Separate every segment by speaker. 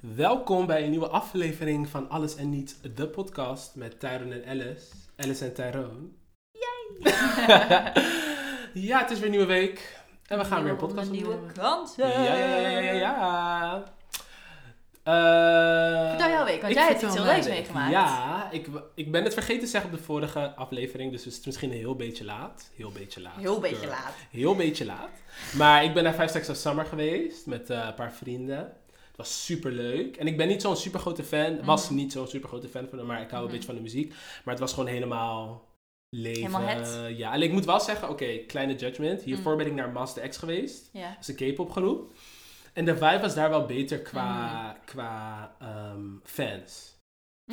Speaker 1: Welkom bij een nieuwe aflevering van Alles en Niets, de podcast met Tyrone en Alice. Alice en Tyrone. ja, het is weer een nieuwe week. En we gaan weer een podcast
Speaker 2: Nieuwe
Speaker 1: opnemen.
Speaker 2: kansen.
Speaker 1: Ja, ja, ja, ja, ja, ja. Eh,
Speaker 2: Vertel jouw week, want
Speaker 1: ik
Speaker 2: jij hebt
Speaker 1: vertel
Speaker 2: iets heel
Speaker 1: mijn
Speaker 2: leuks
Speaker 1: week.
Speaker 2: meegemaakt.
Speaker 1: Ja, ik, w- ik ben het vergeten te zeggen op de vorige aflevering, dus het is misschien een heel beetje laat. Heel beetje laat.
Speaker 2: Heel beetje
Speaker 1: Keur.
Speaker 2: laat.
Speaker 1: Heel beetje laat. Maar ik ben naar Five Stacks of Summer geweest met eh, een paar vrienden. Het was super leuk. En ik ben niet zo'n super grote fan. Was
Speaker 2: Mhm.
Speaker 1: niet zo'n super grote fan van hem, maar ik hou
Speaker 2: Mhm.
Speaker 1: een beetje van de muziek. Maar het was gewoon helemaal leven.
Speaker 2: Helemaal het.
Speaker 1: Ja, en ik moet wel zeggen, oké, kleine judgment. Hiervoor
Speaker 2: Mm.
Speaker 1: ben ik naar Master X geweest.
Speaker 2: Ja.
Speaker 1: Dat is een K-pop groep. En de vibe was daar wel beter qua,
Speaker 2: Mhm.
Speaker 1: qua ehm, fans.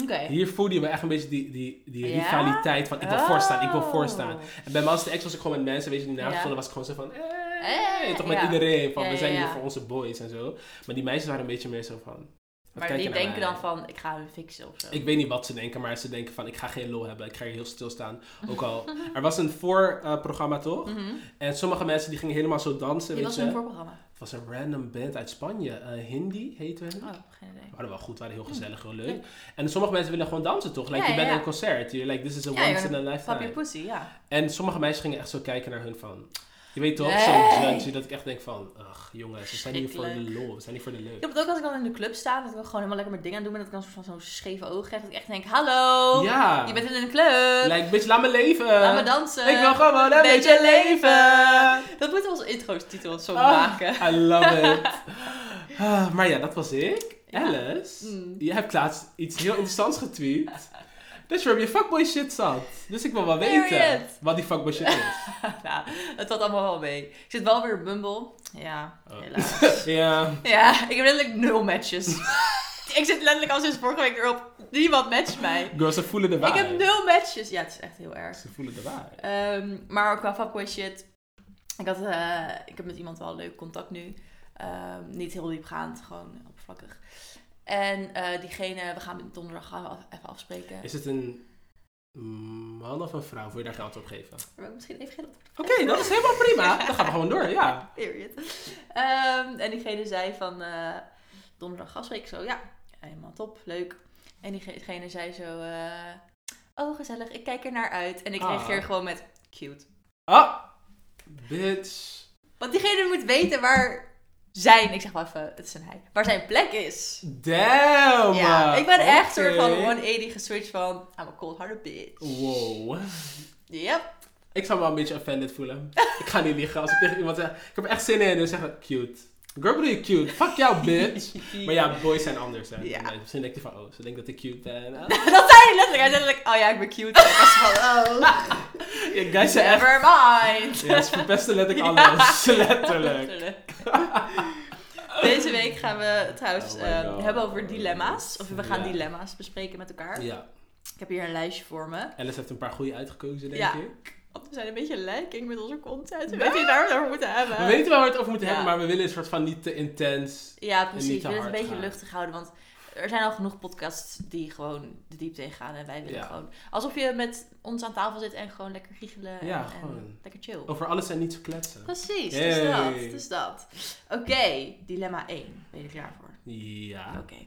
Speaker 2: Oké.
Speaker 1: Hier voelde we echt een beetje die, die, die
Speaker 2: Ja?
Speaker 1: rivaliteit van ik wil voorstaan, ik wil voorstaan.
Speaker 2: Oh.
Speaker 1: En bij Master X was ik gewoon met mensen, weet je, die naast
Speaker 2: Ja.
Speaker 1: stonden, was ik gewoon zo van, eh,
Speaker 2: Eh,
Speaker 1: toch met
Speaker 2: ja.
Speaker 1: iedereen, van
Speaker 2: Ja,
Speaker 1: we
Speaker 2: ja,
Speaker 1: zijn hier
Speaker 2: ja.
Speaker 1: voor onze boys en zo. Maar die meisjes waren een beetje meer zo van, wat kijk
Speaker 2: Maar
Speaker 1: je
Speaker 2: die
Speaker 1: naar
Speaker 2: denken
Speaker 1: mij?
Speaker 2: dan van, ik ga hem fixen of zo.
Speaker 1: Ik weet niet wat ze denken, maar ze denken van, ik ga geen lol hebben, ik ga hier heel stilstaan. Ook al, er was een voorprogramma toch?
Speaker 2: Mhm.
Speaker 1: En sommige mensen die gingen helemaal zo dansen,
Speaker 2: Die
Speaker 1: weet
Speaker 2: was
Speaker 1: je.
Speaker 2: een voorprogramma.
Speaker 1: Het was een random band uit Spanje, eh, Hindi heette hun.
Speaker 2: Oh, geen idee.
Speaker 1: We waren wel goed, waren heel gezellig, heel leuk. En sommige mensen willen gewoon dansen toch? Like,
Speaker 2: Ja,
Speaker 1: je
Speaker 2: ja,
Speaker 1: bent
Speaker 2: ja.
Speaker 1: in een concert. You're like, this is a
Speaker 2: Ja,
Speaker 1: once in a
Speaker 2: Pap je
Speaker 1: lifetime.
Speaker 2: pussy, ja.
Speaker 1: En sommige meisjes gingen echt zo kijken naar hun van... Je weet toch,
Speaker 2: Nee.
Speaker 1: zo'n judge, dat ik echt denk van... Ach, jongens, we zijn hier voor de
Speaker 2: Verschrikkelijk.
Speaker 1: lol, we zijn hier voor de
Speaker 2: Ik
Speaker 1: leuk.
Speaker 2: heb het ook als ik dan in de club sta, dat ik dan gewoon helemaal lekker mijn dingen aan doe, maar dat ik dan soort van zo'n scheve oog krijg, dat ik echt denk, hallo,
Speaker 1: Ja,
Speaker 2: je bent in een club,
Speaker 1: like, bitch, laat me leven.
Speaker 2: laat me dansen.
Speaker 1: ik wil gewoon een beetje,
Speaker 2: beetje
Speaker 1: leven.
Speaker 2: Dat moeten we als intro-titel zo
Speaker 1: Ah,
Speaker 2: maken.
Speaker 1: I love it. Ah, maar ja, dat was ik.
Speaker 2: Ja.
Speaker 1: Alice,
Speaker 2: Mm.
Speaker 1: jij hebt laatst iets heel interessants getweet. Dat je op je fuckboy shit zat. Dus ik wil wel weten
Speaker 2: Period.
Speaker 1: wat die fuckboy shit is.
Speaker 2: nou, het valt allemaal wel mee. Ik zit wel weer op Bumble. Ja,
Speaker 1: Oh.
Speaker 2: helaas.
Speaker 1: Ja,
Speaker 2: Ja, ik heb letterlijk nul matches. ik zit letterlijk al sinds vorige week erop. Niemand matcht mij.
Speaker 1: girls, ze voelen de waarheid.
Speaker 2: Ik heb nul matches. Ja, het is echt heel erg.
Speaker 1: Ze voelen de waarheid.
Speaker 2: Ehm, maar qua fuckboy shit. Ik, had, eh, ik heb met iemand wel leuk contact nu. Ehm, niet heel diepgaand, gewoon oppervlakkig. En eh, diegene, we gaan donderdag gaan we af- even afspreken.
Speaker 1: Is het een man of een vrouw? Wil je daar geld op geven?
Speaker 2: Daar wil ik misschien even geen antwoord op
Speaker 1: Oké, dat is helemaal prima. Dan gaan we gewoon door, ja.
Speaker 2: Period. Ehm, en diegene zei van eh, donderdag afspreken. Zo ja, helemaal top, leuk. En diegene zei zo, eh, oh gezellig, ik kijk er naar uit. En ik
Speaker 1: Ah.
Speaker 2: reageer gewoon met cute.
Speaker 1: Ah, bitch.
Speaker 2: Want diegene moet weten waar zijn, ik zeg wel even, het is een hij, waar zijn plek is.
Speaker 1: Damn.
Speaker 2: ja, ik ben echt
Speaker 1: oké.
Speaker 2: soort van 180 geswitcht van, I'm a cold hearted bitch.
Speaker 1: Wow.
Speaker 2: Yep.
Speaker 1: Ik zou me wel een beetje offended voelen. ik ga niet liegen als ik tegen iemand zeg... Ik heb er echt zin in en zeggen cute. Girl, bedoel je cute? Fuck jou, bitch. maar ja, boys zijn anders, hè.
Speaker 2: Ja.
Speaker 1: Nee, misschien denkt hij van, oh, ze denkt dat ik cute ben. Ah.
Speaker 2: dat zei hij letterlijk. Hij zei letterlijk, oh ja, ik ben cute. En ik was van, oh,
Speaker 1: Ja, guys zijn echt...
Speaker 2: never mind.
Speaker 1: Ja, ze verpesten letterlijk alles. Letterlijk.
Speaker 2: Deze week gaan we trouwens
Speaker 1: Oh my
Speaker 2: eh,
Speaker 1: God.
Speaker 2: hebben over dilemma's. Of we gaan
Speaker 1: Ja.
Speaker 2: dilemma's bespreken met elkaar.
Speaker 1: Ja,
Speaker 2: Ik heb hier een lijstje voor me.
Speaker 1: Alice heeft een paar goede uitgekozen, denk
Speaker 2: Ja.
Speaker 1: ik.
Speaker 2: Want Oh, we zijn een beetje lijking met onze content. We weten niet waar we het over moeten hebben.
Speaker 1: We weten waar we het over moeten
Speaker 2: Ja.
Speaker 1: hebben, maar we willen een soort van niet te intens.
Speaker 2: Ja,
Speaker 1: En
Speaker 2: precies.
Speaker 1: niet
Speaker 2: Ik
Speaker 1: te
Speaker 2: wil het een
Speaker 1: hard
Speaker 2: beetje
Speaker 1: gaan.
Speaker 2: luchtig houden, want er zijn al genoeg podcasts die gewoon de diepte in gaan. En wij willen
Speaker 1: Ja.
Speaker 2: gewoon... Alsof je met ons aan tafel zit en gewoon lekker giechelen en,
Speaker 1: Ja,
Speaker 2: en
Speaker 1: gewoon.
Speaker 2: lekker chill.
Speaker 1: Over alles en niet te kletsen.
Speaker 2: Precies,
Speaker 1: Hey.
Speaker 2: dus dat. Dus dat. Oké, dilemma 1. Ben je er klaar voor?
Speaker 1: Ja.
Speaker 2: Oké.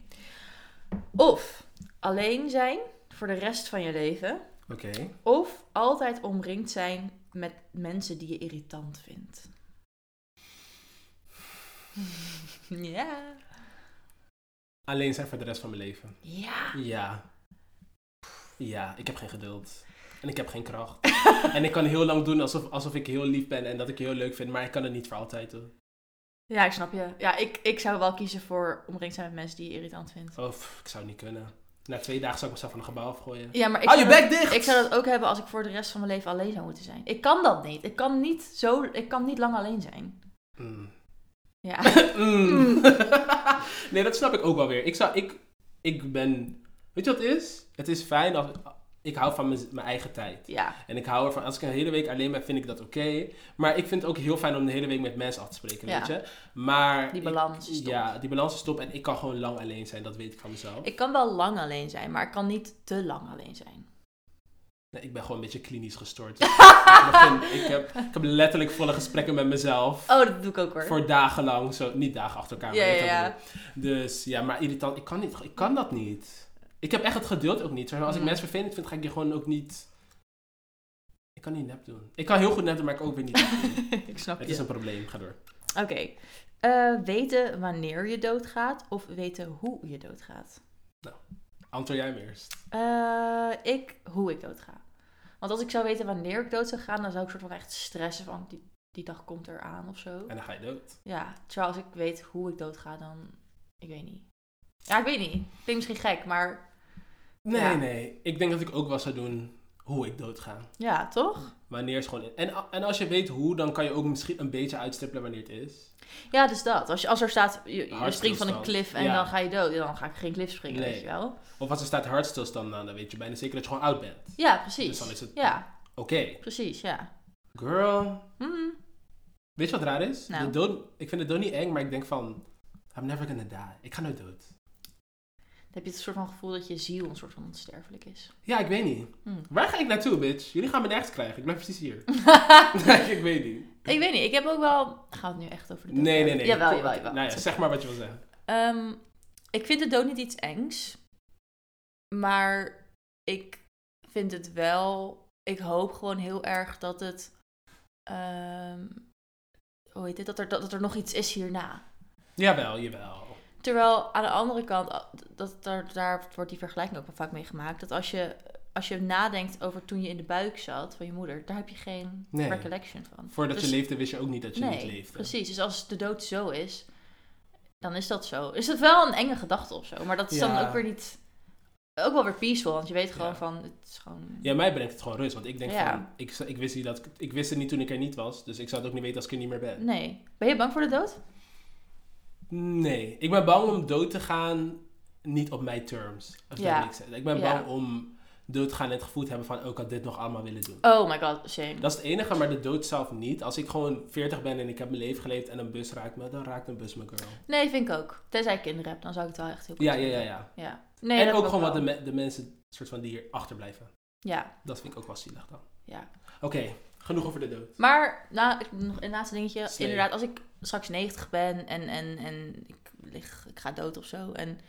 Speaker 2: Of alleen zijn voor de rest van je leven.
Speaker 1: Oké.
Speaker 2: Of altijd omringd zijn met mensen die je irritant vindt. Ja.
Speaker 1: Alleen zijn voor de rest van mijn leven.
Speaker 2: Ja.
Speaker 1: Ja. Ja, ik heb geen geduld. En ik heb geen kracht. en ik kan heel lang doen alsof, alsof ik heel lief ben en dat ik je heel leuk vind, maar ik kan het niet voor altijd doen.
Speaker 2: Ja, ik snap je. Ja, ik, ik zou wel kiezen voor omringd zijn met mensen die je irritant vindt.
Speaker 1: Of Oh, ik zou het niet kunnen. Na twee dagen zou ik mezelf van een gebouw afgooien.
Speaker 2: Ja, maar ik,
Speaker 1: Hou je
Speaker 2: zou
Speaker 1: bek
Speaker 2: dat,
Speaker 1: dicht!
Speaker 2: ik zou dat ook hebben als ik voor de rest van mijn leven alleen zou moeten zijn. Ik kan dat niet. Ik kan niet, zo, ik kan niet lang alleen zijn.
Speaker 1: Mm.
Speaker 2: Ja.
Speaker 1: Mm.
Speaker 2: Mm.
Speaker 1: nee, dat snap ik ook wel weer. Ik, zou, ik, ik ben. Weet je wat het is? Het is fijn als. Ik hou van mijn, mijn eigen tijd.
Speaker 2: ja.
Speaker 1: En ik hou ervan, als ik een hele week alleen ben, vind ik dat oké. Maar ik vind het ook heel fijn om de hele week met mensen af te spreken,
Speaker 2: Ja.
Speaker 1: weet je. Maar
Speaker 2: Die
Speaker 1: ik-
Speaker 2: balans is top.
Speaker 1: ja, die balans is top en ik kan gewoon lang alleen zijn, dat weet ik van mezelf.
Speaker 2: Ik kan wel lang alleen zijn, maar ik kan niet te lang alleen zijn.
Speaker 1: Nee, ik ben gewoon een beetje klinisch gestoord. Dus ik, begin- ik, heb, ik heb letterlijk volle gesprekken met mezelf.
Speaker 2: Oh, dat doe ik ook hoor.
Speaker 1: Voor dagenlang, zo, niet dagen achter elkaar.
Speaker 2: Ja,
Speaker 1: maar je
Speaker 2: ja,
Speaker 1: weet
Speaker 2: ja.
Speaker 1: wat ik bedoel. Dus ja, maar irritant. Ik kan, niet, ik kan dat niet. Ik heb echt het geduld ook niet. Zeg maar, Als ik
Speaker 2: Mm.
Speaker 1: mensen vervelend vind, ga ik je gewoon ook niet. Ik kan niet nep doen. Ik kan heel goed nep doen, maar ik ook weer niet. nep doen.
Speaker 2: ik snap
Speaker 1: het
Speaker 2: je.
Speaker 1: is een probleem, ga door.
Speaker 2: Oké. Eh, weten wanneer je doodgaat of weten hoe je doodgaat?
Speaker 1: Antwoord jij me eerst.
Speaker 2: Eh, ik, hoe ik doodga. Want als ik zou weten wanneer ik dood zou gaan, dan zou ik soort van echt stressen van die, die dag komt eraan of zo.
Speaker 1: En dan ga je dood.
Speaker 2: Ja, terwijl als ik weet hoe ik doodga, dan... Ik weet niet. Ja, ik weet niet. Klinkt misschien gek, maar
Speaker 1: Nee,
Speaker 2: Ja.
Speaker 1: nee. Ik denk dat ik ook wel zou doen hoe ik dood ga.
Speaker 2: ja, toch?
Speaker 1: Wanneer is gewoon. En, a- en als je weet hoe, dan kan je ook misschien een beetje uitstippelen wanneer het is.
Speaker 2: Ja, dus dat. Als, je, als er staat, je- je, springt van een
Speaker 1: Hartstilstand.
Speaker 2: cliff en
Speaker 1: Ja.
Speaker 2: dan ga je dood. Dan ga ik geen cliff springen,
Speaker 1: Nee.
Speaker 2: weet je wel?
Speaker 1: Of als er staat hartstilstand aan, dan weet je bijna zeker dat je gewoon oud bent.
Speaker 2: Ja, precies.
Speaker 1: Dus dan is het-
Speaker 2: Ja,
Speaker 1: Oké,
Speaker 2: precies, ja.
Speaker 1: girl.
Speaker 2: Hmm.
Speaker 1: Weet je wat raar is?
Speaker 2: Nou.
Speaker 1: De dood, ik vind de dood niet eng, maar ik denk van... I'm never gonna die. Ik ga nooit dood.
Speaker 2: Dan heb je het soort van gevoel dat je ziel een soort van onsterfelijk is.
Speaker 1: Ja, ik weet niet.
Speaker 2: Hmm.
Speaker 1: Waar ga ik naartoe, bitch? Jullie gaan me nergens krijgen. Ik blijf precies hier. ik weet niet.
Speaker 2: Ah. ik weet niet, ik heb ook wel... Gaan we het nu echt over de dood
Speaker 1: Nee, nee,
Speaker 2: hebben?
Speaker 1: nee.
Speaker 2: Jawel,
Speaker 1: Kom-
Speaker 2: jawel, jawel.
Speaker 1: Nou ja, zeg maar wat je wil zeggen.
Speaker 2: Ehm, ik vind de dood niet iets engs. Maar ik vind het wel. Ik hoop gewoon heel erg dat het. ehm, hoe heet dit? Dat er, dat, dat er nog iets is hierna.
Speaker 1: Jawel, jawel.
Speaker 2: Terwijl aan de andere kant, a- dat, daar, daar wordt die vergelijking ook wel vaak mee gemaakt. Dat als je, als je nadenkt over toen je in de buik zat van je moeder, daar heb je geen
Speaker 1: Nee.
Speaker 2: recollection van.
Speaker 1: Voordat
Speaker 2: Dus-
Speaker 1: je leefde, wist je ook niet dat je
Speaker 2: nee,
Speaker 1: niet leefde.
Speaker 2: Precies, dus als de dood zo is, dan is dat zo. Is het wel een enge gedachte of zo, maar dat is dan
Speaker 1: Ja.
Speaker 2: ook weer niet. Ook wel weer peaceful, want je weet gewoon
Speaker 1: Ja.
Speaker 2: van. Het is gewoon.
Speaker 1: Ja, mij brengt het gewoon rust. Want ik denk
Speaker 2: Ja.
Speaker 1: van... Ik, ik, wist niet dat, ik- ik wist het niet toen ik er niet was. Dus ik zou het ook niet weten als ik er niet meer ben.
Speaker 2: Nee. Ben je bang voor de dood?
Speaker 1: Nee, ik ben bang om dood te gaan niet op mijn terms. Of
Speaker 2: Ja.
Speaker 1: dat makes sense. Ik ben
Speaker 2: Ja.
Speaker 1: bang om dood te gaan en het gevoel te hebben van... Oh, ik had dit nog allemaal willen doen.
Speaker 2: Oh my god, same.
Speaker 1: Dat is het enige, maar de dood zelf niet. Als ik gewoon 40 ben en ik heb mijn leven geleefd en een bus raakt me... dan raakt een bus me, girl.
Speaker 2: Nee, vind ik ook. Tenzij ik kinderen heb, dan zou ik het wel echt heel
Speaker 1: Ja,
Speaker 2: kut
Speaker 1: ja, ja,
Speaker 2: vinden.
Speaker 1: ja.
Speaker 2: ja. Nee, dat
Speaker 1: en
Speaker 2: heb
Speaker 1: ook
Speaker 2: ik
Speaker 1: gewoon wat de,
Speaker 2: wel.
Speaker 1: me- de mensen soort van die hier achterblijven.
Speaker 2: Ja,
Speaker 1: Dat vind ik ook wel zielig dan.
Speaker 2: ja.
Speaker 1: Oké, genoeg over de dood.
Speaker 2: Maar nou, ik- nog een laatste dingetje.
Speaker 1: Snee.
Speaker 2: Inderdaad, als ik straks 90 ben en, en, en ik, lig, ik ga dood of zo. En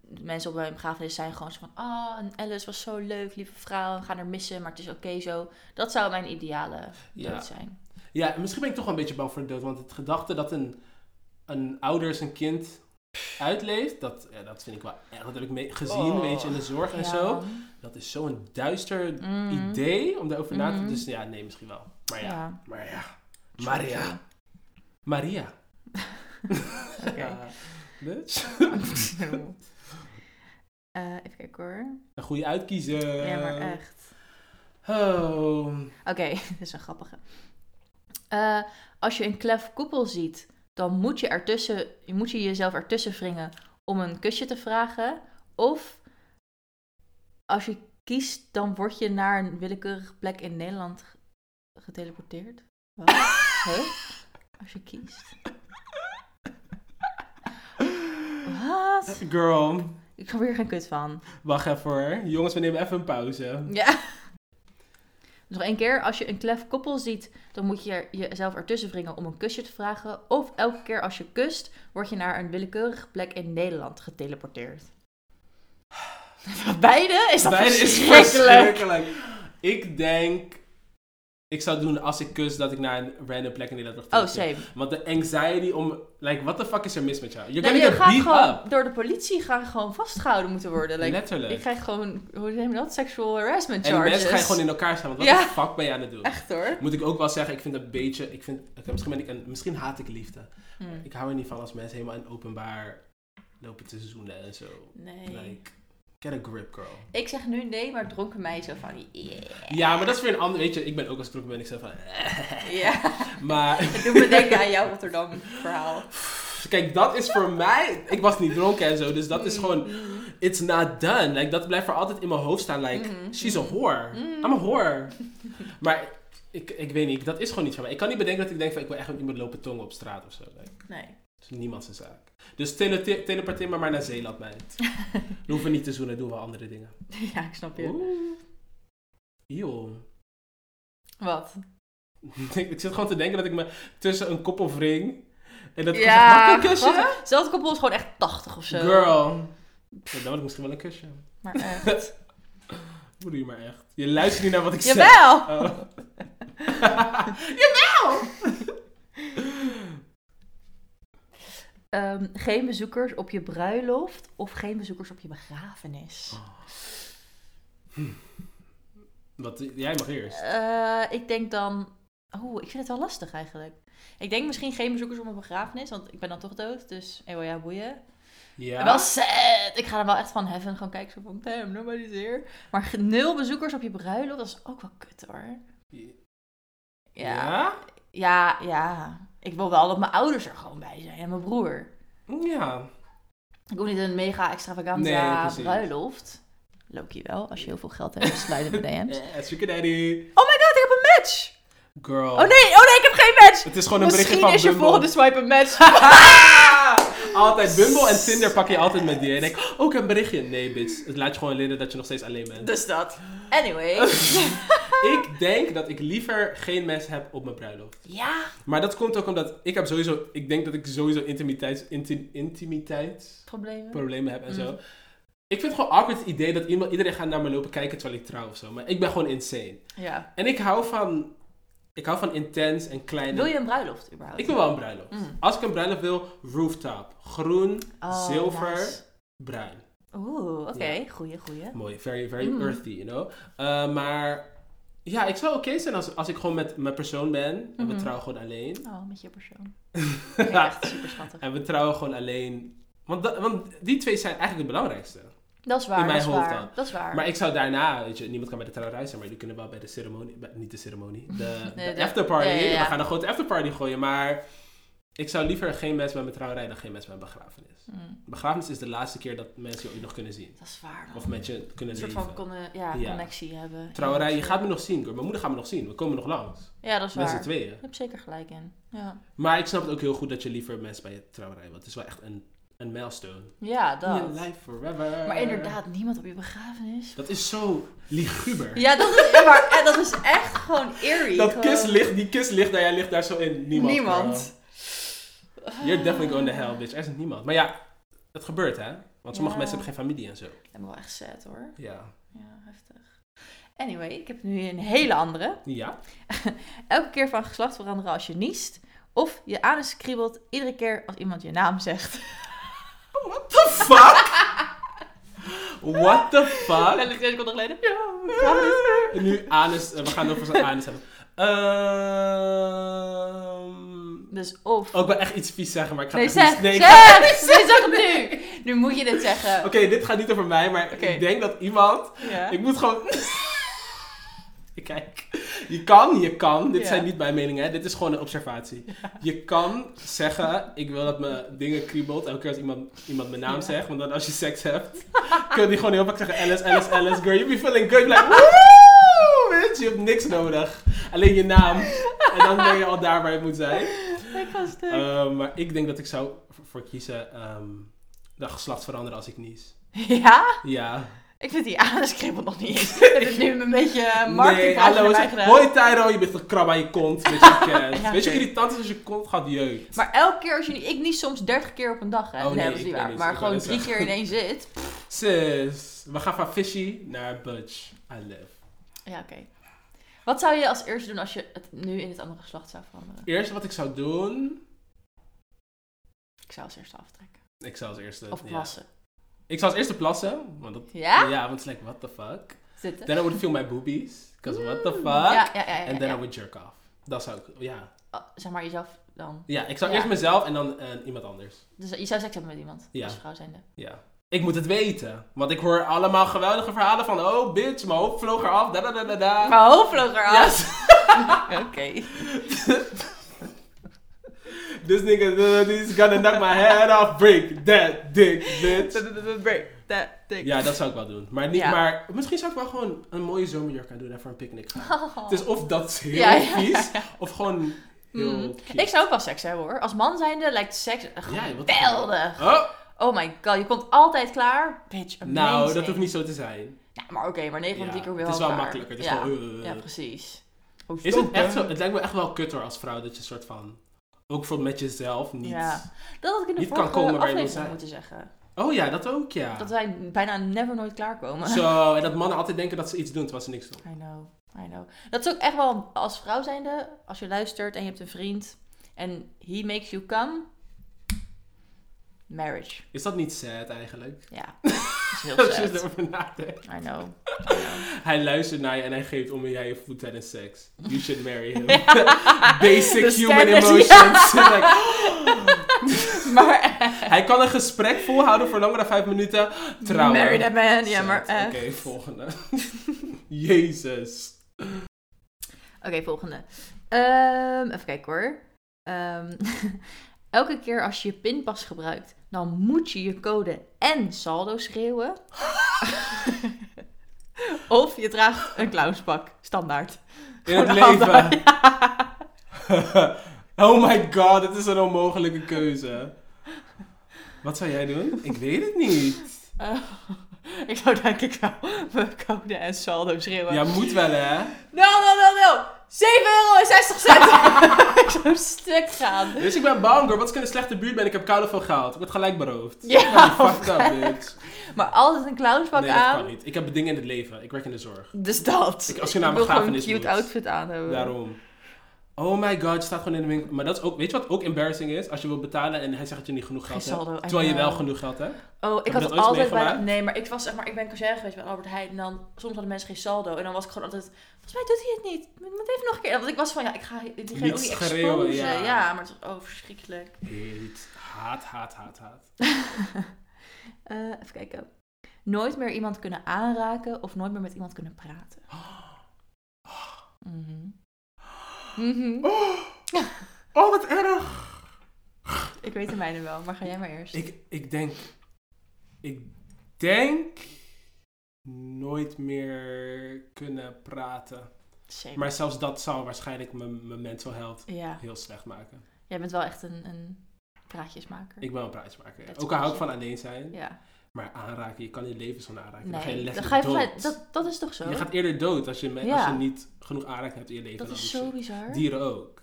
Speaker 2: de mensen op mijn begrafenis zijn gewoon zo van... Oh, en Alice was zo leuk, lieve vrouw. We gaan haar missen, maar het is oké zo. Dat zou mijn ideale
Speaker 1: Ja.
Speaker 2: dood zijn.
Speaker 1: Ja, misschien ben ik toch wel een beetje bang voor de dood. Want het gedachte dat een, een ouder zijn kind uitleeft... Dat, ja, dat vind ik wel echt... Dat heb ik mee- gezien,
Speaker 2: Oh.
Speaker 1: weet je, in de zorg en
Speaker 2: Ja,
Speaker 1: zo.
Speaker 2: man.
Speaker 1: Dat is zo'n duister
Speaker 2: Mm.
Speaker 1: idee om daarover na
Speaker 2: Mhm.
Speaker 1: te... Dus ja, nee, misschien wel. Maar ja,
Speaker 2: Ja.
Speaker 1: maar ja. Maria. Maria.
Speaker 2: Oké.
Speaker 1: Ja, bitch.
Speaker 2: Eh, even kijken hoor.
Speaker 1: Een goede uitkiezen.
Speaker 2: Ja, maar echt.
Speaker 1: Oh.
Speaker 2: Oké, dit is een grappige. Eh, als je een klef koepel ziet, dan moet je, ertussen, je moet je jezelf ertussen wringen om een kusje te vragen. Of als je kiest, dan word je naar een willekeurige plek in Nederland ge- geteleporteerd. Wat? Huh? Als je kiest. Wat?
Speaker 1: Girl,
Speaker 2: Ik ga weer geen kut van.
Speaker 1: wacht even hoor. Jongens, we nemen even een pauze.
Speaker 2: Ja. Dus Nog één keer, als je een klef koppel ziet, dan moet je er- jezelf ertussen wringen om een kusje te vragen. Of elke keer als je kust, word je naar een willekeurige plek in Nederland geteleporteerd. Beide? Is dat
Speaker 1: Beide is
Speaker 2: verschrikkelijk?
Speaker 1: verschrikkelijk. Ik denk... Ik zou doen als ik kus dat ik naar een random plek in Nederland
Speaker 2: Oh,
Speaker 1: terug ga.
Speaker 2: same.
Speaker 1: Want de anxiety om... Like, what the fuck is er mis met jou? You're
Speaker 2: Nou, je
Speaker 1: gonna
Speaker 2: gaat
Speaker 1: get beat
Speaker 2: gewoon
Speaker 1: up.
Speaker 2: door de politie gaan gewoon vastgehouden moeten worden. Like,
Speaker 1: Letterlijk.
Speaker 2: ik krijg gewoon, hoe noem je dat? Sexual harassment
Speaker 1: en de
Speaker 2: charges.
Speaker 1: mensen gaan gewoon in elkaar staan. Want wat
Speaker 2: Ja.
Speaker 1: de fuck ben je aan het doen?
Speaker 2: Echt hoor.
Speaker 1: Moet ik ook wel zeggen, ik vind een beetje... Ik vind, oké, misschien, ben ik een, misschien haat ik liefde.
Speaker 2: Hm.
Speaker 1: Ik hou er niet van als mensen helemaal in openbaar lopen te zoenen en zo.
Speaker 2: Nee.
Speaker 1: Like, get a grip, girl.
Speaker 2: Ik zeg nu nee, maar dronken mij zo van, yeah.
Speaker 1: Ja, maar dat is weer een ander... Weet je, ik ben ook als dronken ben ik zo van... eh.
Speaker 2: Ja,
Speaker 1: Maar...
Speaker 2: dat doet me denken aan jouw Rotterdam verhaal.
Speaker 1: Kijk, dat is voor mij... Ik was niet dronken en zo, dus dat is gewoon...
Speaker 2: Mm.
Speaker 1: It's not done. Like, dat blijft voor altijd in mijn hoofd staan. Like,
Speaker 2: Mhm.
Speaker 1: she's a whore.
Speaker 2: Mhm.
Speaker 1: I'm a whore. Maar ik, ik weet niet, dat is gewoon niet van mij. Ik kan niet bedenken dat ik denk van... Ik wil echt met iemand lopen tongen op straat of zo. Like,
Speaker 2: Nee.
Speaker 1: dat is niemand zijn zaak. Dus tele teleporteer me maar naar Zeeland, meid. We hoeven niet te zoenen, doen we andere dingen.
Speaker 2: ja, ik snap je.
Speaker 1: Oeh. Joh.
Speaker 2: Wat?
Speaker 1: ik, ik zit gewoon te denken dat ik me tussen een kop of ring... En dat ik
Speaker 2: Ja,
Speaker 1: gewoon zeg, mag ik een kusje?
Speaker 2: grappig. Zelfde koppel is gewoon echt 80 of zo.
Speaker 1: Girl. Ja, dan wil ik misschien wel een kusje.
Speaker 2: Maar eh, echt.
Speaker 1: Hoe doe je maar echt? Je luistert niet naar wat ik zeg.
Speaker 2: Jawel!
Speaker 1: Oh.
Speaker 2: Ehm, geen bezoekers op je bruiloft of geen bezoekers op je begrafenis?
Speaker 1: Wat, jij mag eerst.
Speaker 2: Eh, ik denk dan. Oeh, ik vind het wel lastig eigenlijk. Ik denk misschien geen bezoekers op mijn begrafenis, want ik ben dan toch dood. Dus, eeuw ja, boeien.
Speaker 1: Ja.
Speaker 2: Wel sad! Ik ga er wel echt van heaven gewoon kijken. Zo van, damn, nobody's here. Maar ge- nul bezoekers op je bruiloft, dat is ook wel kut hoor. Ja.
Speaker 1: Ja?
Speaker 2: Ja, ja. Ik wil wel dat mijn ouders er gewoon bij zijn en mijn broer.
Speaker 1: Ja.
Speaker 2: Ik wil niet een mega
Speaker 1: Nee,
Speaker 2: extravaganza
Speaker 1: precies.
Speaker 2: bruiloft. Loki wel, als je heel veel geld hebt, sluit de DM's.
Speaker 1: Eh, Sugar Daddy.
Speaker 2: Oh my god, ik heb een match!
Speaker 1: Girl.
Speaker 2: Oh nee, oh nee, ik heb geen match!
Speaker 1: Het is gewoon een berichtje
Speaker 2: Misschien
Speaker 1: van
Speaker 2: is je
Speaker 1: Bumble.
Speaker 2: volgende swipe een match.
Speaker 1: Altijd Bumble en Tinder pak je altijd met die. En ik, oh, ik heb een berichtje. Nee, bitch. Het laat je gewoon linnen dat je nog steeds alleen bent.
Speaker 2: dus dat. Anyway.
Speaker 1: Ik denk dat ik liever geen mes heb op mijn bruiloft.
Speaker 2: ja,
Speaker 1: Maar dat komt ook omdat ik heb sowieso... Ik denk dat ik sowieso intimiteit, inti- intimiteit
Speaker 2: problemen.
Speaker 1: problemen heb en
Speaker 2: Mm.
Speaker 1: zo. Ik vind het gewoon awkward het idee dat iemand, iedereen gaat naar me lopen kijken terwijl ik trouw of zo. Maar ik ben gewoon insane.
Speaker 2: Ja.
Speaker 1: En ik hou van... Ik hou van intens en klein. en-
Speaker 2: Wil je een bruiloft überhaupt?
Speaker 1: Ik wil wel een bruiloft.
Speaker 2: Mm.
Speaker 1: Als ik een bruiloft wil, rooftop. Groen,
Speaker 2: Oh,
Speaker 1: zilver,
Speaker 2: nice.
Speaker 1: bruin.
Speaker 2: Oeh, oké. Goeie, goeie.
Speaker 1: Mooi, very, very
Speaker 2: Mm.
Speaker 1: earthy, you know. Eh, maar ja, ik zou oké zijn als, als ik gewoon met mijn persoon ben. En we
Speaker 2: Mhm.
Speaker 1: trouwen gewoon alleen.
Speaker 2: Oh, met je persoon. Echt super schattig.
Speaker 1: en we trouwen gewoon alleen. Want, da- want die twee zijn eigenlijk het belangrijkste.
Speaker 2: Dat is waar,
Speaker 1: In mijn
Speaker 2: dat is
Speaker 1: hoofd
Speaker 2: waar.
Speaker 1: dan.
Speaker 2: Dat is waar.
Speaker 1: Maar ik zou daarna, weet je, niemand kan bij de trouwerij zijn, maar jullie kunnen wel bij de ceremonie, bij- niet de ceremonie, de,
Speaker 2: Nee,
Speaker 1: de
Speaker 2: de-
Speaker 1: afterparty.
Speaker 2: ja, ja, ja.
Speaker 1: We gaan een grote afterparty gooien, maar ik zou liever geen mensen bij mijn trouwerij dan geen mensen bij mijn begrafenis.
Speaker 2: Mm,
Speaker 1: Begrafenis is de laatste keer dat mensen je ooit nog kunnen zien.
Speaker 2: dat is waar. Dan.
Speaker 1: Of met je kunnen
Speaker 2: een soort
Speaker 1: leven.
Speaker 2: van conne- ja,
Speaker 1: Ja.
Speaker 2: connectie hebben.
Speaker 1: Trouwerij, je gaat me nog zien. hoor. Mijn moeder gaat me nog zien. We komen nog langs.
Speaker 2: Ja, dat is
Speaker 1: Met
Speaker 2: waar.
Speaker 1: z'n
Speaker 2: Je
Speaker 1: tweeën.
Speaker 2: hebt zeker gelijk in. Ja,
Speaker 1: Maar ik snap het ook heel goed dat je liever mensen bij je trouwerij wil. Het is wel echt een, een milestone.
Speaker 2: ja dat.
Speaker 1: In life forever.
Speaker 2: Maar inderdaad, niemand op je begrafenis.
Speaker 1: Dat is zo liguber.
Speaker 2: Ja, dat is, ja, maar, eh, dat is echt gewoon eerie.
Speaker 1: Dat
Speaker 2: Gewoon-
Speaker 1: kist ligt, die kist ligt daar, jij ligt daar zo in. Niemand. girl.
Speaker 2: Niemand.
Speaker 1: You're definitely going to hell, bitch. Er is niemand. Maar ja, het gebeurt, hè? Want sommige
Speaker 2: Ja.
Speaker 1: mensen hebben geen familie en zo.
Speaker 2: Ik ben wel echt sad hoor.
Speaker 1: Ja.
Speaker 2: Ja, heftig. Anyway, ik heb nu een hele andere.
Speaker 1: Ja?
Speaker 2: Elke keer van geslacht veranderen als je niest. Of je anus kriebelt iedere keer als iemand je naam zegt.
Speaker 1: What the fuck? What the fuck?
Speaker 2: Letterlijk twee seconden geleden. Ja, ik ga dit.
Speaker 1: En nu anus. eh, We gaan het over zijn anus hebben. Ehm...
Speaker 2: Dus of...
Speaker 1: Oh, ik wil echt iets vies zeggen, maar ik ga
Speaker 2: Nee,
Speaker 1: het echt
Speaker 2: zeg!
Speaker 1: niet... ik ga-
Speaker 2: zeg! Nee, zeg het nu! Nu moet je dit zeggen.
Speaker 1: Oké, dit gaat niet over mij, maar
Speaker 2: Oké.
Speaker 1: ik denk dat iemand...
Speaker 2: Ja.
Speaker 1: Ik moet gewoon... Kijk, je kan, je kan. Dit
Speaker 2: Ja.
Speaker 1: zijn niet mijn meningen, hè. Dit is gewoon een observatie. Je kan zeggen, ik wil dat mijn dingen kriebelt elke keer als iemand, iemand mijn naam
Speaker 2: Ja.
Speaker 1: zegt. Want dan als je seks hebt, kun je gewoon heel vaak zeggen, Alice, Alice, Alice, girl. You be feeling good. Like, woe, bitch. Je hebt niks nodig. Alleen je naam. En dan ben je al daar waar je moet zijn.
Speaker 2: Ik ga stuk.
Speaker 1: Eh, maar ik denk dat ik zou v- voor kiezen ehm dat geslacht veranderen als ik nies.
Speaker 2: Ja?
Speaker 1: Ja.
Speaker 2: Ik vind die anus kriebelt nog niet. eens. Ik heb het nu een beetje eh, marketingpraatje
Speaker 1: hallo.
Speaker 2: erbij
Speaker 1: zeg-
Speaker 2: gedaan.
Speaker 1: Hoi Tyro, je bent een krab aan je kont. Weet je, kent.
Speaker 2: Ja,
Speaker 1: weet je hoe
Speaker 2: oké.
Speaker 1: irritant is als je kont gaat jeuken?
Speaker 2: Maar elke keer als je niet... Ik niet soms 30 keer op een dag, hè?
Speaker 1: Oh, nee,
Speaker 2: dat is
Speaker 1: ik
Speaker 2: niet
Speaker 1: ben
Speaker 2: waar.
Speaker 1: niet-
Speaker 2: maar
Speaker 1: ik
Speaker 2: gewoon
Speaker 1: wou net
Speaker 2: drie keer in één zit.
Speaker 1: Sis, we gaan van fishy naar budge. I live.
Speaker 2: Ja, oké. Wat zou je als eerste doen als je het nu in het andere geslacht zou veranderen?
Speaker 1: Eerst wat ik zou doen...
Speaker 2: Ik zou als eerste aftrekken.
Speaker 1: Ik zou als eerste...
Speaker 2: Of
Speaker 1: ja.
Speaker 2: plassen.
Speaker 1: Ik zou als eerste plassen. Want dat,
Speaker 2: Ja?
Speaker 1: Ja, want het is like, what the fuck?
Speaker 2: Zitten.
Speaker 1: Then I would feel my boobies. Because what the fuck?
Speaker 2: Ja, Mm. ja, ja. ja,
Speaker 1: And then
Speaker 2: ja.
Speaker 1: I would jerk off. Dat zou ik... Ja.
Speaker 2: Oh, zeg maar jezelf dan.
Speaker 1: Ja, ik zou
Speaker 2: Ja.
Speaker 1: eerst mezelf en dan eh, iemand anders.
Speaker 2: Dus je zou seks hebben met iemand.
Speaker 1: Ja.
Speaker 2: Als vrouw zijnde.
Speaker 1: Ja. Ik moet het weten. Want ik hoor allemaal geweldige verhalen van... Oh, bitch, mijn hoofd vloog eraf. Da, da, da, da, da.
Speaker 2: Mijn hoofd vloog eraf.
Speaker 1: Yes.
Speaker 2: Oké.
Speaker 1: This nigga, this is gonna knock my head off. Break that dick, bitch.
Speaker 2: Break that thing.
Speaker 1: Ja, dat zou ik wel doen. Maar, niet,
Speaker 2: Ja.
Speaker 1: maar misschien zou ik wel gewoon een mooie zomerjurk aan doen en voor een picknick gaan. Het is of dat heel
Speaker 2: Oh. Ja, ja,
Speaker 1: vies, of gewoon heel
Speaker 2: Mm.
Speaker 1: cute.
Speaker 2: Ik zou ook wel seks hebben hoor. Als man zijnde lijkt seks echt
Speaker 1: Ja, wat-
Speaker 2: geweldig.
Speaker 1: Oh,
Speaker 2: Oh my god, je komt altijd klaar. Bitch, amazing.
Speaker 1: Nou, dat hoeft niet zo te zijn.
Speaker 2: Ja, maar oké, maar 9 van
Speaker 1: Ja,
Speaker 2: 10 keer weer
Speaker 1: het is wel
Speaker 2: klaar.
Speaker 1: makkelijker. Het is
Speaker 2: ja.
Speaker 1: gewoon, eh,
Speaker 2: ja, precies. Oh,
Speaker 1: Is
Speaker 2: stop,
Speaker 1: het echt
Speaker 2: hè?
Speaker 1: zo? Het lijkt me echt wel kutter als vrouw dat je soort van... Ook voor met jezelf niet...
Speaker 2: Ja. Dat had ik in de
Speaker 1: niet kan
Speaker 2: vorige
Speaker 1: komen waar je wil
Speaker 2: aflevering
Speaker 1: zijn.
Speaker 2: moeten zeggen.
Speaker 1: Oh ja, dat ook, ja.
Speaker 2: Dat wij bijna never nooit klaarkomen.
Speaker 1: Zo, en dat mannen altijd denken dat ze iets doen terwijl ze niks doen.
Speaker 2: I know, I know. Dat is ook echt wel als vrouw zijnde, als je luistert en je hebt een vriend en he makes you come. Marriage.
Speaker 1: Is dat niet sad eigenlijk?
Speaker 2: Ja, dat is heel
Speaker 1: Als je
Speaker 2: sad.
Speaker 1: erover nadenkt.
Speaker 2: I know. I know.
Speaker 1: Hij luistert naar je en hij geeft om en jij je voet tijdens seks. You should marry him. Basic
Speaker 2: De
Speaker 1: human
Speaker 2: standaard,
Speaker 1: emotions. Like,
Speaker 2: maar eh,
Speaker 1: hij kan een gesprek volhouden voor langer dan vijf minuten. Trouwen.
Speaker 2: Marry that man. Ja,
Speaker 1: Sad.
Speaker 2: maar eh. echt.
Speaker 1: Oké, volgende. Jezus.
Speaker 2: Oké, volgende. Ehm, even kijken hoor. Ehm, elke keer als je je pinpas gebruikt, dan moet je je code en saldo schreeuwen. of je draagt een clownspak. Standaard.
Speaker 1: In het
Speaker 2: Gewoon
Speaker 1: leven.
Speaker 2: altijd. Ja.
Speaker 1: oh my god, dit is een onmogelijke keuze. Wat zou jij doen? Ik weet het niet.
Speaker 2: Eh, ik zou denk ik wel mijn code en saldo schreeuwen.
Speaker 1: Ja, moet wel hè.
Speaker 2: No, no, no, no. 7 euro en 60 cent. ik zou stuk gaan.
Speaker 1: Dus ik ben bang hoor. Wat is ik in een slechte buurt ben? Ik heb koude veel geld. Ik word gelijk beroofd.
Speaker 2: Ja,
Speaker 1: Nou, fuck dat, bitch.
Speaker 2: Maar altijd een clownspak
Speaker 1: Nee, dat
Speaker 2: aan.
Speaker 1: kan niet. Ik heb dingen in het leven. Ik werk in de zorg.
Speaker 2: Dus dat.
Speaker 1: Ik- als je naar
Speaker 2: wil gewoon een
Speaker 1: begrafenis
Speaker 2: cute
Speaker 1: moet.
Speaker 2: outfit aan hebben.
Speaker 1: Daarom. Oh my god, je staat gewoon in de winkel. Maar dat is ook, weet je wat ook embarrassing is? Als je wilt betalen en hij zegt dat je niet genoeg
Speaker 2: Geen
Speaker 1: geld hebt.
Speaker 2: saldo, I
Speaker 1: Terwijl je
Speaker 2: know.
Speaker 1: wel genoeg geld hebt.
Speaker 2: Oh, ik
Speaker 1: je
Speaker 2: had
Speaker 1: dat
Speaker 2: het
Speaker 1: ooit
Speaker 2: altijd bij...
Speaker 1: meegemaakt?
Speaker 2: Nee, maar ik was zeg maar... Ik ben cashier geweest bij Albert Heijn. En dan... Soms hadden mensen geen saldo. En dan was ik gewoon altijd... Volgens mij doet hij het niet. Moet moet even nog een keer. Want ik was van... Ja, ik ga diegene
Speaker 1: Niet
Speaker 2: ook niet
Speaker 1: schreeuwen,
Speaker 2: exposen.
Speaker 1: ja.
Speaker 2: Ja. maar het was... Oh, verschrikkelijk.
Speaker 1: Heet. Haat, haat, haat, haat.
Speaker 2: Eh, even kijken. Nooit meer iemand kunnen aanraken. Of nooit meer met iemand kunnen praten. Mhm. Mhm.
Speaker 1: Oh, oh wat erg.
Speaker 2: Ik weet de mijne wel. Maar ga jij maar eerst.
Speaker 1: Ik, ik denk. Ik denk. Nooit meer kunnen praten.
Speaker 2: Zeker.
Speaker 1: Maar zelfs dat zou waarschijnlijk mijn mijn mental health
Speaker 2: Ja.
Speaker 1: heel slecht maken.
Speaker 2: Jij bent wel echt een... een praatjesmaker.
Speaker 1: Ik ben een praatjesmaker.
Speaker 2: Dat is
Speaker 1: Ook al hou ik
Speaker 2: goed.
Speaker 1: van alleen zijn.
Speaker 2: Ja.
Speaker 1: Maar aanraken, je kan je leven zo aanraken. Dan ga je
Speaker 2: Nee. Dan
Speaker 1: letterlijk
Speaker 2: ga je
Speaker 1: dood.
Speaker 2: vanuit... Dat, dat is toch zo?
Speaker 1: Je gaat eerder dood als je, me-
Speaker 2: Ja.
Speaker 1: als je niet genoeg aanraking hebt in je leven.
Speaker 2: Dat
Speaker 1: en
Speaker 2: is
Speaker 1: andere
Speaker 2: zo
Speaker 1: shit.
Speaker 2: bizar.
Speaker 1: Dieren ook.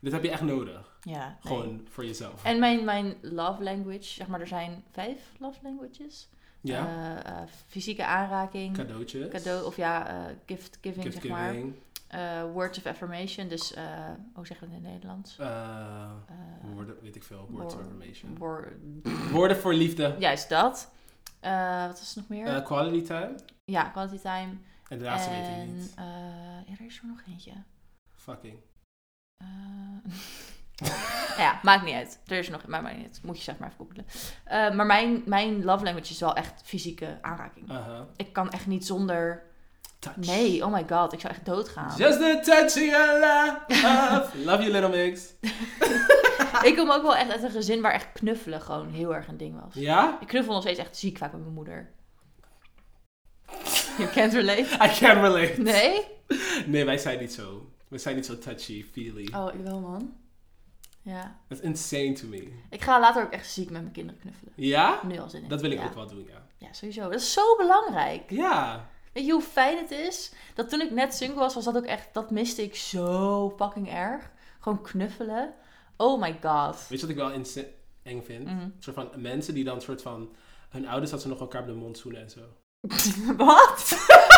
Speaker 1: Dit heb je echt nodig.
Speaker 2: Ja. nee.
Speaker 1: Gewoon voor jezelf.
Speaker 2: En mijn, mijn love language, zeg maar, er zijn vijf love languages.
Speaker 1: ja,
Speaker 2: Eh, eh, fysieke aanraking,
Speaker 1: cadeautjes.
Speaker 2: ehm, cadeau, of ja, eh, gift giving,
Speaker 1: gift
Speaker 2: zeg maar.
Speaker 1: giving.
Speaker 2: Eh, words of affirmation, dus, eh, hoe zeg je dat in het Nederlands?
Speaker 1: eh,
Speaker 2: Eh,
Speaker 1: woorden, weet ik veel. Words of
Speaker 2: woor-
Speaker 1: information.
Speaker 2: woor-
Speaker 1: Woorden voor liefde.
Speaker 2: Juist dat. Eh, wat is er nog meer?
Speaker 1: Eh, quality time.
Speaker 2: ja, quality time.
Speaker 1: En de laatste weet ik
Speaker 2: en,
Speaker 1: niet.
Speaker 2: eh, ja, er is er nog eentje.
Speaker 1: Fucking.
Speaker 2: Eh, nou ja, maakt niet uit. Er is nog, maar maakt niet uit. Moet je zeg maar even googlen. Eh, maar mijn, mijn love language is wel echt fysieke aanraking.
Speaker 1: Aha.
Speaker 2: Ik kan echt niet zonder.
Speaker 1: Uh-huh. Touch.
Speaker 2: Nee, oh my god, ik zou echt doodgaan.
Speaker 1: Just the touch you love. love you little mix.
Speaker 2: Ik kom ook wel echt uit een gezin waar echt knuffelen gewoon heel erg een ding was.
Speaker 1: Ja?
Speaker 2: Ik knuffel nog steeds echt ziek vaak met mijn moeder. You can't relate.
Speaker 1: I can relate.
Speaker 2: Nee?
Speaker 1: Nee, wij zijn niet zo. We zijn niet zo touchy-feely.
Speaker 2: Oh, ik wel man. Ja.
Speaker 1: That's insane to me.
Speaker 2: Ik ga later ook echt ziek met mijn kinderen knuffelen.
Speaker 1: Ja?
Speaker 2: Nu al zin in.
Speaker 1: Dat wil ik
Speaker 2: ja.
Speaker 1: ook wel doen, ja.
Speaker 2: Ja, sowieso. Dat is zo belangrijk.
Speaker 1: Ja.
Speaker 2: Weet je hoe fijn het is? Dat toen ik net single was, was dat ook echt... Dat miste ik zo fucking erg. Gewoon knuffelen. Oh my god.
Speaker 1: Weet je wat ik wel insa- eng vind?
Speaker 2: Mhm.
Speaker 1: Een soort van mensen die dan soort van... Hun ouders dat ze nog elkaar op de mond zoenen en zo.
Speaker 2: Oh, Wat?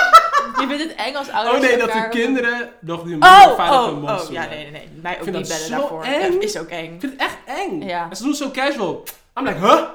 Speaker 2: je vindt het eng als ouders
Speaker 1: Oh nee, dat
Speaker 2: elkaar-
Speaker 1: hun kinderen nog die
Speaker 2: Oh,
Speaker 1: moeder vader op hun
Speaker 2: oh,
Speaker 1: mond
Speaker 2: oh,
Speaker 1: zoenen.
Speaker 2: ja, nee, nee, nee. Mij ook
Speaker 1: vind
Speaker 2: niet
Speaker 1: dat
Speaker 2: bellen
Speaker 1: zo
Speaker 2: daarvoor.
Speaker 1: eng.
Speaker 2: Ja, is ook eng.
Speaker 1: Ik vind het echt eng.
Speaker 2: Ja.
Speaker 1: En ze doen het zo casual. I'm like, huh?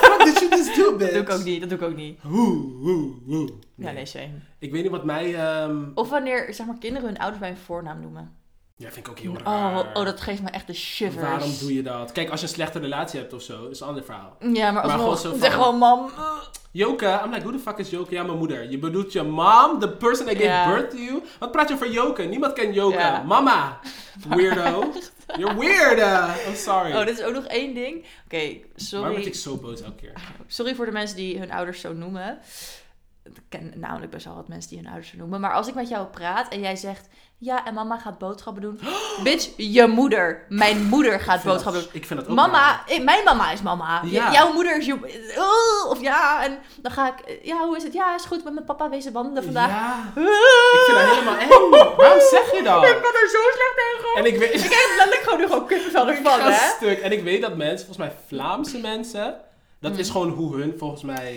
Speaker 1: What did you just do, bitch?
Speaker 2: Dat doe ik ook niet, dat doe ik ook niet.
Speaker 1: Hoe, hoe, hoe.
Speaker 2: Ja, nee, shame.
Speaker 1: Ik weet niet wat mij... ehm
Speaker 2: Of wanneer, zeg maar, kinderen hun ouders bij hun voornaam noemen.
Speaker 1: Ja, vind ik ook heel raar.
Speaker 2: Oh, oh, dat geeft me echt de shivers.
Speaker 1: Waarom doe je dat? Kijk, als je een slechte relatie hebt of zo, is een ander verhaal.
Speaker 2: Ja, maar als
Speaker 1: Maar
Speaker 2: we
Speaker 1: gewoon zo
Speaker 2: zeg
Speaker 1: van-
Speaker 2: gewoon, mam... eh,
Speaker 1: Joka, I'm like, who the fuck is Joka? Ja, mijn moeder. Je bedoelt je mom, the person that gave
Speaker 2: Ja.
Speaker 1: birth to you? Wat praat je over Joka? Niemand kent Joka.
Speaker 2: Ja.
Speaker 1: Mama. Weirdo. You're weird. eh. I'm sorry.
Speaker 2: Oh, dit is ook nog één ding. Oké, sorry.
Speaker 1: Waarom word ik zo boos elke keer?
Speaker 2: Sorry voor de mensen die hun ouders zo noemen. ik ken namelijk best wel wat mensen die hun ouders vernoemen. Maar als ik met jou praat en jij zegt... Ja, en mama gaat boodschappen doen. Bitch, je moeder. Mijn moeder gaat boodschappen doen.
Speaker 1: Ik vind dat ook raar.
Speaker 2: Mama, eh, mijn mama is mama. J-
Speaker 1: Ja.
Speaker 2: Jouw moeder is je. Oh, of ja, en dan ga ik. eh, Ja, hoe is het? Ja, is goed. Met mijn papa wezen wandelen vandaag.
Speaker 1: Ja. Ik vind dat helemaal eng. Waarom zeg je
Speaker 2: Ik
Speaker 1: dat?
Speaker 2: ben er zo slecht tegen.
Speaker 1: En ik weet...
Speaker 2: Ik heb letterlijk gewoon nu gewoon kippenvel ervan,
Speaker 1: Een
Speaker 2: hè?
Speaker 1: stuk. En ik weet dat mensen, volgens mij Vlaamse mensen, dat
Speaker 2: Mm.
Speaker 1: is gewoon hoe hun, volgens mij,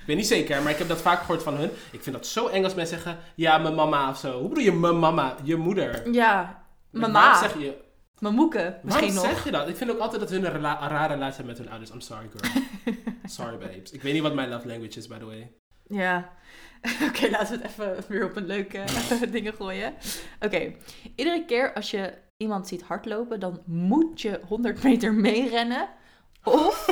Speaker 1: ik weet niet zeker, maar ik heb dat vaak gehoord van hun. Ik vind dat zo eng als mensen zeggen, ja, mijn mama of zo. Hoe bedoel je mijn mama? Je moeder.
Speaker 2: Ja, mijn
Speaker 1: Waarom
Speaker 2: ma.
Speaker 1: zeg je,
Speaker 2: Mijn moeke, misschien
Speaker 1: waarom
Speaker 2: nog.
Speaker 1: zeg je dat? Ik vind ook altijd dat hun een, rela- een rare relatie hebben met hun ouders. I'm sorry, girl. sorry, babes. Ik weet niet wat mijn love language is, by the way.
Speaker 2: Ja. Oké, laten we het even weer op een leuke dingen gooien. Oké, iedere keer als je iemand ziet hardlopen, dan moet je 100 meter meerennen. Of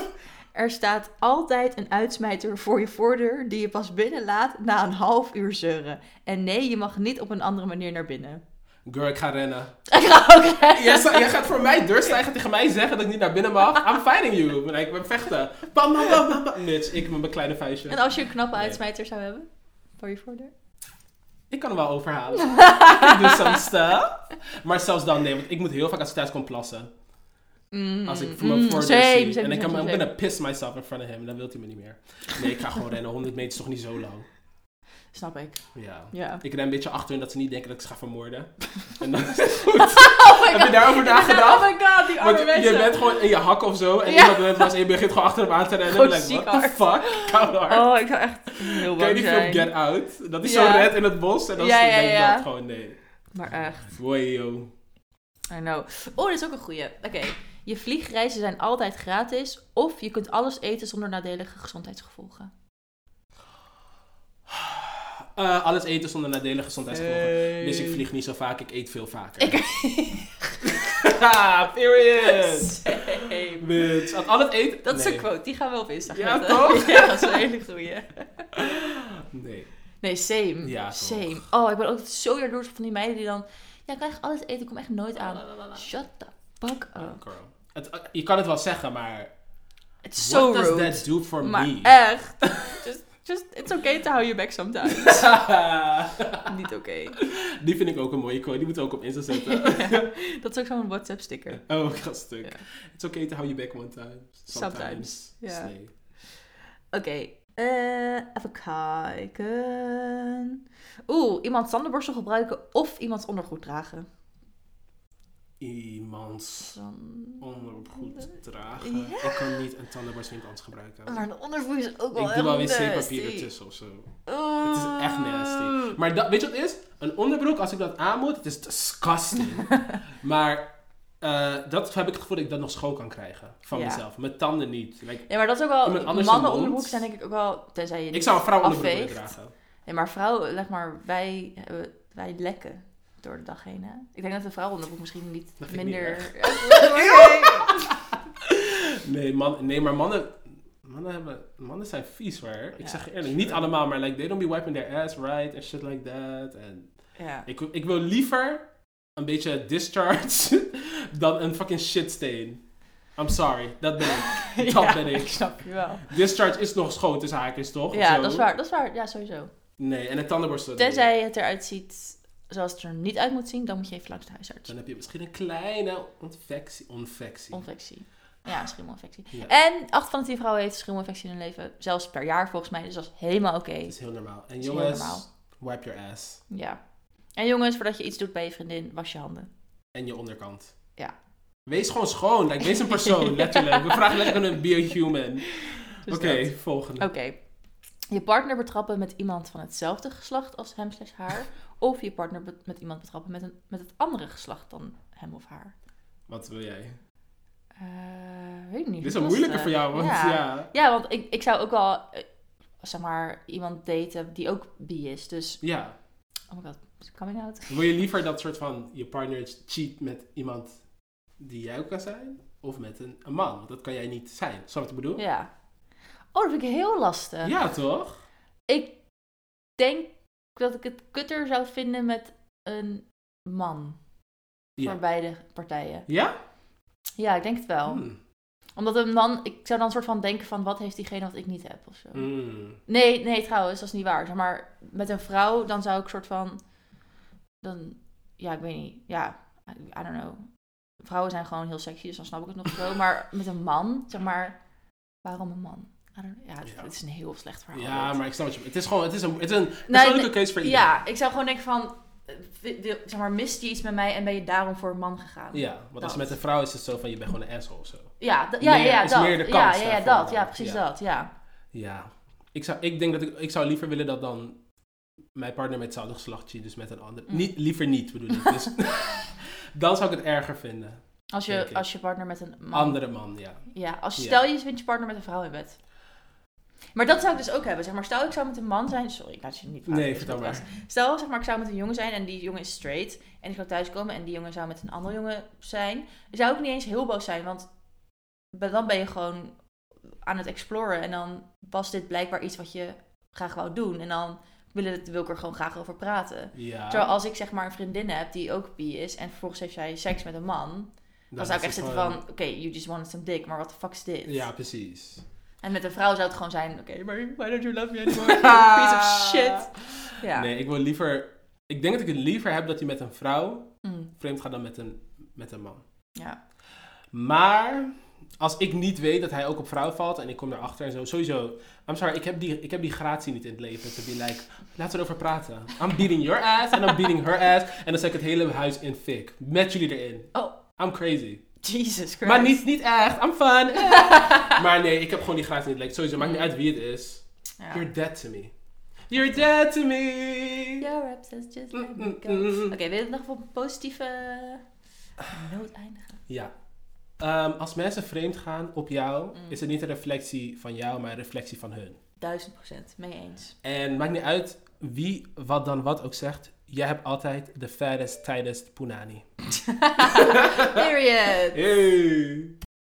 Speaker 2: er staat altijd een uitsmijter voor je voordeur die je pas binnenlaat na een half uur zeuren. En nee, je mag niet op een andere manier naar binnen.
Speaker 1: Girl, ik ga rennen.
Speaker 2: Ik ga ook rennen.
Speaker 1: Jij, sta- jij gaat voor mij deur staan, jij gaat tegen mij zeggen dat ik niet naar binnen mag. I'm fighting you. Maar ik ben vechten. Bam, bam, bam, bam, bam. Nits, ik met mijn kleine vuistje.
Speaker 2: En als je een knappe
Speaker 1: Nee.
Speaker 2: uitsmijter zou hebben voor je voordeur?
Speaker 1: Ik kan hem wel overhalen. ik doe some stuff. Maar zelfs dan, nee, want ik moet heel vaak als ik thuis kom plassen. Als
Speaker 2: Mm,
Speaker 1: ik voor mijn voordeur zie. en ik kan I'm gonna piss myself in front of him. Dan wilt hij me niet meer. Nee, ik ga gewoon rennen. 100 meter is toch niet zo lang.
Speaker 2: Snap ik,
Speaker 1: Ja.
Speaker 2: ja.
Speaker 1: Ik ren een beetje achter en dat ze niet denken dat ik ze ga vermoorden. En dan is het goed. Heb je daarover
Speaker 2: Oh
Speaker 1: nagedacht?
Speaker 2: my god, die arme
Speaker 1: Want
Speaker 2: mensen.
Speaker 1: je bent gewoon in je hak of zo. En
Speaker 2: Ja.
Speaker 1: iemand rent langs en je begint gewoon achter hem aan te rennen. En
Speaker 2: Gewoon
Speaker 1: dan denk
Speaker 2: ziek
Speaker 1: ik, what the fuck? Koud hard.
Speaker 2: Oh, ik zou echt heel
Speaker 1: Ken je
Speaker 2: bang
Speaker 1: die film
Speaker 2: zijn.
Speaker 1: Get Out? Dat is
Speaker 2: Ja.
Speaker 1: zo red in het bos. En dan
Speaker 2: Ja, ja,
Speaker 1: denk ik
Speaker 2: ja.
Speaker 1: dat gewoon, nee.
Speaker 2: Maar echt,
Speaker 1: Boy, yo.
Speaker 2: I know. Oh, dat is ook een goeie. Oké, je vliegreizen zijn altijd gratis. Of je kunt alles eten zonder nadelige gezondheidsgevolgen.
Speaker 1: Eh, alles eten zonder nadelige gezondheidsgevolgen.
Speaker 2: Hey.
Speaker 1: Dus ik vlieg niet zo vaak, ik eet veel vaker. Ah, period.
Speaker 2: Same.
Speaker 1: Bitch. Aan al het eten...
Speaker 2: Dat is
Speaker 1: nee.
Speaker 2: een quote, die gaan we op Insta
Speaker 1: Ja,
Speaker 2: zetten.
Speaker 1: toch?
Speaker 2: ja, dat is een hele goeie.
Speaker 1: Nee.
Speaker 2: Nee, same.
Speaker 1: Ja, toch.
Speaker 2: same. Oh, ik ben ook zo jaloers op van die meiden die dan... Ja, ik krijg alles eten, ik kom echt nooit aan. Shut the fuck
Speaker 1: Oh,
Speaker 2: up.
Speaker 1: girl. Het, eh, je kan het wel zeggen, maar...
Speaker 2: Het is zo
Speaker 1: what does
Speaker 2: rude.
Speaker 1: that do for
Speaker 2: Maar
Speaker 1: me?
Speaker 2: echt. Just, just, it's okay to hou your back sometimes. Niet oké.
Speaker 1: die vind ik ook een mooie quote. Die moeten we ook op Insta zetten.
Speaker 2: Ja, dat is ook zo'n WhatsApp sticker.
Speaker 1: Oh, ik ga stuk.
Speaker 2: Ja.
Speaker 1: It's okay to hold you back one time. Sometimes.
Speaker 2: Sometimes, ja.
Speaker 1: Slay.
Speaker 2: Oké, eh, even kijken. Oeh, iemands tandenborstel gebruiken of iemands ondergoed dragen.
Speaker 1: Iemands
Speaker 2: Dan-
Speaker 1: ondergoed dragen. Ik kan niet een tandenborstel niet anders gebruiken.
Speaker 2: Maar een ondergoed is ook wel
Speaker 1: Ik doe wel
Speaker 2: heel
Speaker 1: wc-papier
Speaker 2: nasty.
Speaker 1: ertussen of zo.
Speaker 2: Oeh.
Speaker 1: Het is echt nasty. Maar dat, weet je wat het is? Een onderbroek, als ik dat aan moet, het is disgusting. maar eh, dat heb ik het gevoel dat ik dat nog schoon kan krijgen. Van
Speaker 2: Ja.
Speaker 1: mezelf. Mijn tanden niet. Like,
Speaker 2: Ja, maar dat is ook
Speaker 1: Iemand
Speaker 2: wel...
Speaker 1: anders zijn
Speaker 2: Mannen onderbroek
Speaker 1: mond.
Speaker 2: zijn denk ik ook wel... Tenzij je
Speaker 1: ik
Speaker 2: niet...
Speaker 1: zou een vrouw onderbroek willen
Speaker 2: afveegt.
Speaker 1: dragen.
Speaker 2: Nee, maar vrouwen, zeg maar, wij, hebben- wij lekken door de dag heen, hè? Ik denk dat een vrouw onderbroek misschien niet
Speaker 1: Dat vind ik
Speaker 2: minder...
Speaker 1: niet
Speaker 2: Oké.
Speaker 1: Nee, man, nee maar mannen, mannen, hebben, mannen zijn vies, waar. Ik
Speaker 2: Ja,
Speaker 1: zeg je eerlijk, niet allemaal, maar like, they don't be wiping their ass right and shit like that. En
Speaker 2: ja.
Speaker 1: ik, ik wil liever een beetje discharge dan een fucking shitsteen. I'm sorry, dat ben ik. Dat
Speaker 2: Ja,
Speaker 1: ben ik.
Speaker 2: snap je wel.
Speaker 1: Discharge is nog schoon tussen haakjes, toch?
Speaker 2: Ja,
Speaker 1: Zo.
Speaker 2: dat is waar. Dat is waar. Ja, sowieso.
Speaker 1: Nee, en een tandenborstel.
Speaker 2: Tenzij het eruit ziet zoals het er niet uit moet zien, dan moet je even langs de huisarts.
Speaker 1: Dan heb je misschien een kleine infectie. Infectie.
Speaker 2: Infectie. Ja, schimmelinfectie.
Speaker 1: Ja.
Speaker 2: En 8 van de 10 vrouwen heeft een schimmelinfectie in hun leven. Zelfs per jaar volgens mij. Dus dat is helemaal oké.
Speaker 1: Dat is heel normaal. En
Speaker 2: is heel
Speaker 1: jongens,
Speaker 2: normaal.
Speaker 1: wipe your ass.
Speaker 2: Ja. En jongens, voordat je iets doet bij je vriendin, was je handen.
Speaker 1: En je onderkant.
Speaker 2: Ja.
Speaker 1: Wees gewoon schoon. Like, wees een persoon, letterlijk. We vragen letterlijk een be a human.
Speaker 2: Dus
Speaker 1: Oké,
Speaker 2: dat.
Speaker 1: volgende.
Speaker 2: Oké. Je partner betrappen met iemand van hetzelfde geslacht als hem slash haar. Of je partner be- met iemand betrappen met, een, met het andere geslacht dan hem of haar.
Speaker 1: Wat wil jij?
Speaker 2: Eh, weet ik niet.
Speaker 1: Dit is een moeilijke voor jou, want ja. ja.
Speaker 2: Ja, want ik, ik zou ook wel, eh, zeg maar, iemand daten die ook bi is. Dus, oh my god, coming out.
Speaker 1: Wil je liever dat soort van je partner cheat met iemand die jij ook kan zijn? Of met een, een man? Want dat kan jij niet zijn. Snap je wat ik bedoel?
Speaker 2: Ja. Oh, dat vind ik heel lastig.
Speaker 1: Ja, toch?
Speaker 2: Ik denk dat ik het kutter zou vinden met een man.
Speaker 1: Ja.
Speaker 2: Voor beide partijen.
Speaker 1: Ja?
Speaker 2: Ja, ik denk het wel.
Speaker 1: Hmm.
Speaker 2: Omdat hem dan, ik zou dan soort van denken van wat heeft diegene wat ik niet heb of zo.
Speaker 1: Mm.
Speaker 2: Nee, nee, trouwens, dat is niet waar. Zeg maar met een vrouw, dan zou ik soort van. Dan, ja, ik weet niet. Ja, I I don't know. Vrouwen zijn gewoon heel sexy, dus dan snap ik het nog zo. Maar met een man, zeg maar, waarom een man? I don't, ja, het,
Speaker 1: Ja.
Speaker 2: het is een heel slecht verhaal.
Speaker 1: Ja,
Speaker 2: dit.
Speaker 1: maar ik snap wat je Het is gewoon, het is een, het is een persoonlijke
Speaker 2: nee,
Speaker 1: case voor iedereen.
Speaker 2: Ja, ik zou gewoon denken van, eh, wil- wil- zeg maar, mist je iets met mij en ben je daarom voor een man gegaan?
Speaker 1: Ja, want als
Speaker 2: Dat.
Speaker 1: het met een vrouw is het zo van, je bent gewoon een asshole of zo.
Speaker 2: ja, d- ja,
Speaker 1: Meer-
Speaker 2: ja, ja,
Speaker 1: is
Speaker 2: dat.
Speaker 1: meer de
Speaker 2: ja,
Speaker 1: kans
Speaker 2: ja, ja,
Speaker 1: daarvoor
Speaker 2: dat.
Speaker 1: dan.
Speaker 2: Ja, precies
Speaker 1: Ja.
Speaker 2: dat. Ja.
Speaker 1: Ja. Ik, zou, ik denk dat ik, ik zou liever willen dat dan mijn partner met hetzelfde geslacht ziet, dus met een ander.
Speaker 2: Mm.
Speaker 1: Niet, liever niet, bedoel ik. Dus, dan zou ik het erger vinden.
Speaker 2: Als
Speaker 1: Denk
Speaker 2: je,
Speaker 1: ik.
Speaker 2: als je partner met een man.
Speaker 1: Andere man, ja.
Speaker 2: Ja, als
Speaker 1: Ja.
Speaker 2: stel je vindt je partner met een vrouw in bed. Maar dat zou ik dus ook hebben. Zeg maar, stel ik zou met een man zijn. Sorry, ik laat je niet praten
Speaker 1: Nee,
Speaker 2: in deze
Speaker 1: vertel
Speaker 2: podcast. Stel, zeg maar, ik zou met een jongen zijn en die jongen is straight. En ik zou thuiskomen en die jongen zou met een andere jongen zijn. Dan zou ik niet eens heel boos zijn, want be- dan ben je gewoon aan het exploren. En dan was dit blijkbaar iets wat je graag wou doen. En dan wil, het, wil ik er gewoon graag over praten.
Speaker 1: Ja.
Speaker 2: Terwijl als ik zeg maar een vriendin heb die ook bi is en vervolgens heeft zij seks met een man, dan zou ik echt
Speaker 1: is het
Speaker 2: zitten van,
Speaker 1: gewoon-
Speaker 2: oké, you just wanted some dick, maar what the fuck is dit?
Speaker 1: Ja, precies.
Speaker 2: En met een vrouw zou het gewoon zijn, oké, maar why don't you love me anymore? you Piece of shit. Ja.
Speaker 1: Nee, ik wil liever... Ik denk dat ik het liever heb dat je met een vrouw
Speaker 2: Mm.
Speaker 1: vreemd gaat dan met een, met een man.
Speaker 2: Ja.
Speaker 1: Maar als ik niet weet dat hij ook op vrouw valt en ik kom daarachter en zo, sowieso. I'm sorry, ik heb die, ik heb die gratie niet in het leven. To be like, laten we erover praten. I'm beating your ass and I'm beating her ass. En dan zet ik het hele huis in fik. Met jullie erin.
Speaker 2: Oh.
Speaker 1: I'm crazy.
Speaker 2: Jesus Christ.
Speaker 1: Maar niet, niet echt. I'm fun. maar nee, ik heb gewoon die gratie niet. Like, sowieso, maakt niet uit wie het is.
Speaker 2: Ja.
Speaker 1: You're dead to me. You're dead to me.
Speaker 2: Your absence just let me
Speaker 1: Mm,
Speaker 2: go.
Speaker 1: mm, mm.
Speaker 2: Oké, wil je het nog op een positieve eh, noot eindigen?
Speaker 1: Ja. Ehm, als mensen vreemd gaan op jou,
Speaker 2: Mm.
Speaker 1: is het niet een reflectie van jou, maar een reflectie van hun.
Speaker 2: Duizend procent, mee eens.
Speaker 1: En maakt niet uit wie wat dan wat ook zegt. Jij hebt altijd de fairest, tightest punani.
Speaker 2: Period.
Speaker 1: Hey!